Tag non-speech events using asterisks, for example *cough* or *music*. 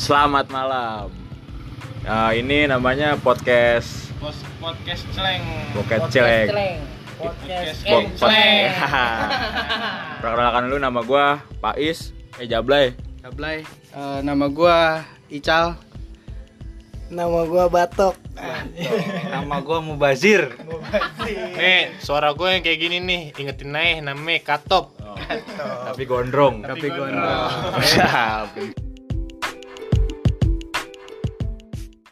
Selamat malam. Nah, ini namanya podcast Pos podcast celeng. Podcast Celeng. Eh, Podcast Podcast Po- Celeng. pod- *laughs* Perkenalkan dulu nama gua Pais eh Jablay. Gablay. Eh, nama gua Ical. Nama gua Batok. Nama gua Mubazir. Nih, Eh, suara gue yang kayak gini nih, ingetin aja namanya Katop. Tapi gondrong. Tapi gondrong. *laughs* Siap.